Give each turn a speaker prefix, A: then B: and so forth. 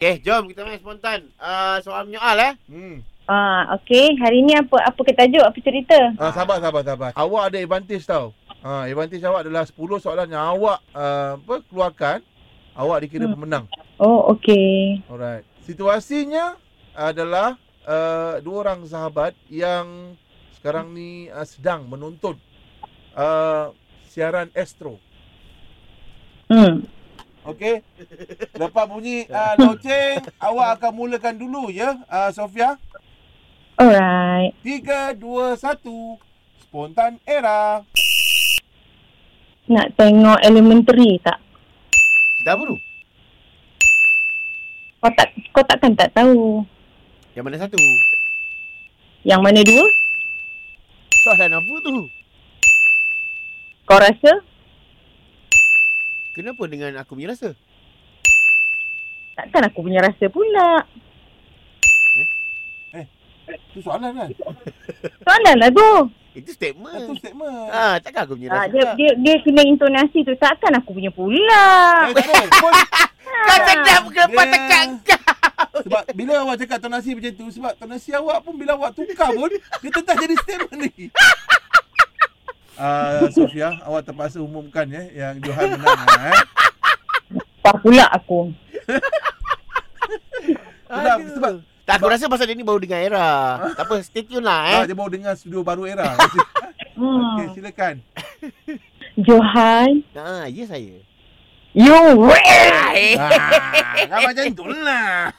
A: Okay, jom kita main spontan. Uh, soal menyoal eh.
B: Hmm.
C: Ah, okey. Hari ni apa apa ke tajuk? Apa cerita?
B: Ah, sabar, sabar, sabar. Awak ada advantage tau. Ha, advantage awak adalah 10 soalan yang awak uh, apa, keluarkan. Awak dikira
C: Hmm.
B: pemenang.
C: Oh, okey.
B: Alright. Situasinya adalah uh, dua orang sahabat yang sekarang ni uh, sedang menonton uh, siaran Astro.
C: Hmm.
B: Okey. Dapat bunyi uh, loceng, awak akan mulakan dulu ya, uh, Sofia.
C: Alright.
B: 3 2 1 spontan era.
C: Nak tengok elementary tak?
A: Cerita apa tu?
C: Kau tak kau takkan tak tahu.
A: Yang mana satu?
C: Yang mana dua?
A: Soalan apa tu?
C: Kau rasa?
A: Kenapa dengan aku punya rasa?
C: Takkan aku punya rasa pula.
B: Tu soalan kan?
C: Soalan lah tu.
A: Itu
B: Ah, Tu
A: statement.
B: statement.
A: Hmm. Ah, takkan aku punya
C: Ah,
A: rasa.
C: dia,
A: pula.
C: dia dia kena intonasi tu. Takkan aku punya pula.
B: Eh, tak boleh. Pun,
A: Kau sedap kenapa
B: Dia-
A: tekan kau?
B: sebab bila awak cakap tonasi macam tu, sebab tonasi awak pun bila awak tukar pun, dia tetap jadi statement lagi. Uh, Sofia, awak terpaksa umumkan ya yang Johan menang eh.
C: Apa pula aku?
B: Sedap,
A: Aduh.
B: sebab-
A: tak aku rasa pasal dia ni baru dengar era. tak apa, stay tune lah
B: Ah,
A: eh.
B: dia baru dengar studio baru era. Okey,
C: Hmm.
B: silakan.
C: Johan,
A: Ha, ah, ya Ah, saya.
C: you win.
A: Eh,
B: Ah, jangan macam tu lah.